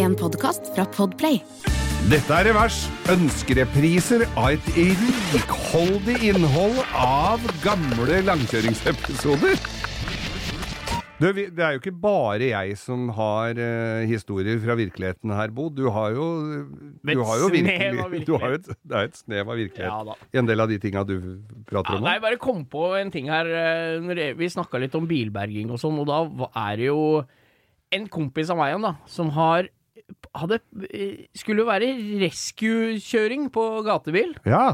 En podkast fra Podplay. Dette er Revers. Ønskerepriser av et rikholdig innhold av gamle langkjøringsepisoder. Du, vi, det er jo ikke bare jeg som har eh, historier fra virkeligheten her, Bo. Du har jo, du Med et har jo snev virkelig- av virkelighet. Du har jo et, det er et snev av Ja virkelighet da. i en del av de tinga du prater Ja, om nei, nå. jeg bare kom på en ting her. eh, når jeg- Vi snakka litt om bilberging og sånn, og da va- er det jo en kompis av meg igjen, da, som har hadde, eh, skulle være rescue-kjøring på gatebil. Ja.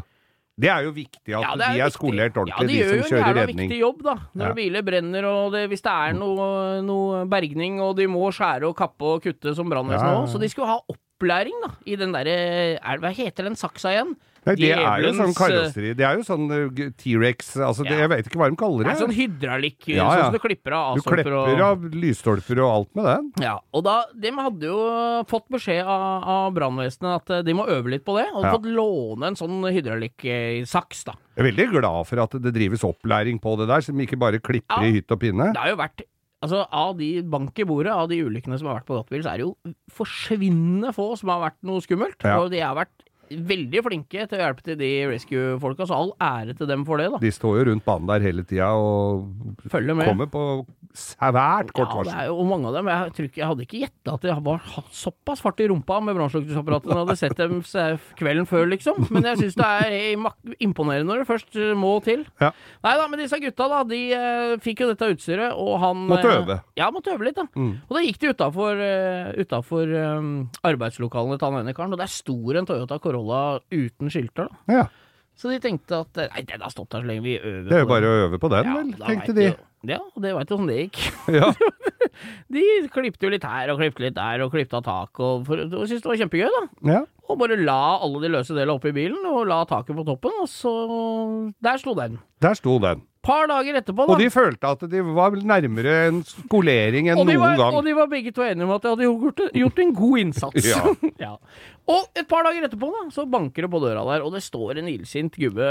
Det er jo viktig at det de er viktig. skolert Ja, ordentlig, det gjør de som jo en kjører jævla redning. viktig jobb, da. Når Ja. biler brenner, og det, hvis det er noe, noe bergning, og de må skjære og kappe og kutte som brannvesen Ja. òg. Så de skulle ha opplæring, da, i den derre er- Hva heter den saksa igjen? Nei, det er jo sånn Djevelens, eh, karosseri. Det er jo sånn eh, g- T-rex altså, det, Ja. Jeg vet ikke hva de kaller Det det. er sånn hydraulikk, Ja, sånn ja. som du klipper av Du avstopper klepper av lysstolper og alt med den. Ja, og da, De hadde jo fått beskjed av, av brannvesenet at eh, de må øve litt på det, og Ja. fått låne en sånn hydraulikksaks. da. Jeg er veldig glad for at det drives opplæring på det der, som ikke bare klipper Ja. i hytt og pinne. Det har jo vært Altså, Av de bank i bordet, av de ulykkene som har vært på gatebil, så er det jo forsvinnende få som har vært noe skummelt. Ja. Og de har vært veldig flinke til å hjelpe til de rescue-folka, så all ære til dem for det. da. De står jo rundt banen der hele tida og Følger med. kommer på svært kort Ja, det varsel. er jo og mange av dem. Jeg, tror ikke, jeg hadde ikke gjetta at jeg var hatt såpass fart i rumpa med brannslukningsapparatet når jeg hadde sett dem se- kvelden før, liksom. Men jeg syns det er mak- imponerende når det først eh, må til. Ja. Nei da, men disse gutta, da, de eh, fikk jo dette utstyret, og han Måtte eh, øve. Mm. Ja, måtte øve litt, da. Og da gikk de utafor eh, arbeidslokalene til han ene karen, og der sto en Toyota Corolla uten skilter, da. Ja, Så de tenkte at eh, nei, den har stått der så lenge, vi øver. det er jo på den. bare å øve på den, vel, da vet tenkte de. jo- Ja, og det veit du hvordan det gikk. Ja. De klipte jo litt her og klipte litt der og klipte av taket og, for, og syntes det var kjempegøy, da. Ja. Og bare la alle de løse delene oppi bilen og la taket på toppen, og så Der slo den. Der sto den. Par dager etterpå, da. Og de følte at de var nærmere en skolering enn og de noen var, og gang. de var begge to enige om at de hadde gjort, gjort en god innsats. Ja. Ja. Og et par dager etterpå da, så banker det på døra der, og det står en illsint gubbe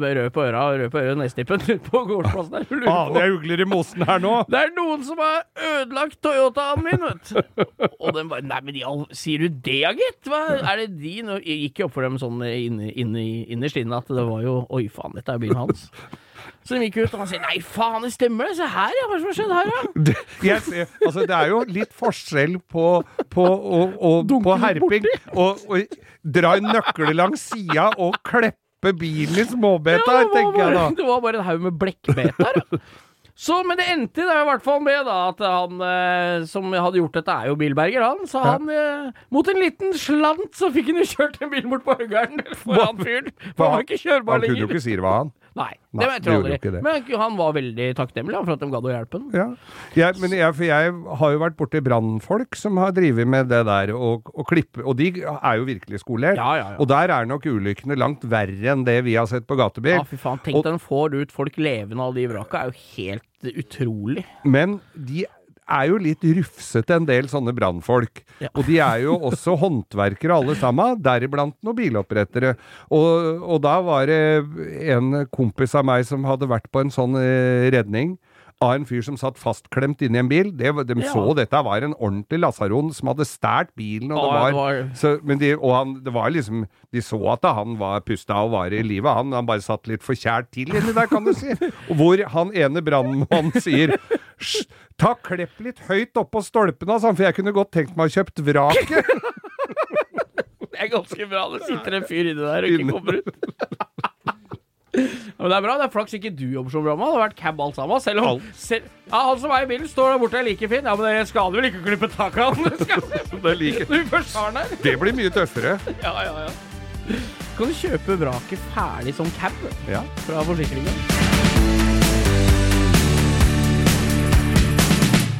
med rød på øra og rød på øret nesetippen ute på gårdsplassen der. og lurer Ah, på- det er ugler i mosen her nå! Det er noen som har ødelagt Toyotaen min, vet du. Og den bare Nei, men i all- sier du det, gitt? Hva er det din? Og jeg gikk jo opp for dem sånn inne, inne, i- innerst inne at det var jo Oi, faen, dette er bilen hans. Så de gikk ut, og han sier Nei, faen, det stemmer det. Se her, ja. Hva er det som har skjedd her, da? Det, jeg ser, altså, det er jo litt forskjell på, på, og, og, på herping og, og dra en nøkkel langs sida og kleppe bilen i småbeta, Ja, det, var tenker jeg bare, da. det var bare en haug med blekkbeter. ja. Så, men det endte i det i hvert fall med da, at han eh, som hadde gjort dette, er jo bilberger, han. Så han, eh, mot en liten slant, så fikk han jo kjørt en bil bort på Høgern for han fyren. For han var ikke kjørbar Han kunne jo lenger. ikke si det var han. Nei, Nei, det vet det jeg gjorde jo ikke aldri. det. Men han var veldig takknemlig han, for at de gadd å hjelpe ham. Ja. Jeg, men jeg, for jeg har jo vært borti brannfolk som har drevet med det der og, og klippe, og de er jo virkelig skolert. Ja, ja, ja. Og der er nok ulykkene langt verre enn det vi har sett på gatebil. Ja, fy faen. Tenk Og- den får ut folk levende av de vraka, er jo helt utrolig. Men de er jo litt rufsete, en del sånne brannfolk. Og de er jo også håndverkere alle sammen, deriblant noen bilopprettere. Og, og da var det en kompis av meg som hadde vært på en sånn eh, redning av en fyr som satt fastklemt inni en bil. Det, var- de Ja. så dette var en ordentlig lasaron som hadde stært bilen. Og, Ja, det var, det var- så, men de, og han, det var liksom, de så at han var pusta og var i live. Han, han bare satt litt for kjært til inni der, kan du si. Og Hvor han ene brannmannen sier «Sj, Ta klepp litt høyt oppå stolpen, altså, for jeg kunne godt tenkt meg å kjøpt vraket. Det er ganske bra. Det sitter en fyr inni der og ikke kommer ut. Ja, men Det er bra, det er flaks ikke du jobber som brannmann. Det har vært cab alt sammen. Selv om selv, ja, Han som er i bilen, står der borte er like fin. Ja, Men det skader vel ikke å klippe taket av den? Det skal- Det, er like- Når vi først har den her. det blir mye tøffere. Ja, ja, ja. Kan du kjøpe vraket ferdig som cab Ja. fra forsikringen?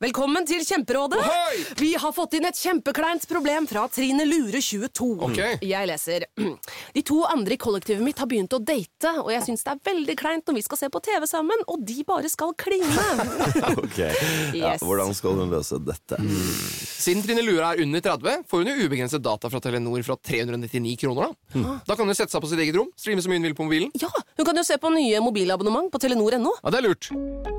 Velkommen til Kjemperådet. Vi har fått inn et kjempekleint problem fra Trine Lure 22. Jeg leser. De to andre i kollektivet mitt har begynt å date, og jeg syns det er veldig kleint når vi skal se på TV sammen, og de bare skal kline. Ok, ja, Yes. Hvordan skal hun løse dette? Siden Trine Lura er under 30, får hun jo ubegrenset data fra Telenor fra 399 kroner. Da Da kan hun sette seg på sitt eget rom, streame så mye hun vil på mobilen. Ja, hun kan jo se på nye mobilabonnement på telenor.no. Ja, Det er lurt.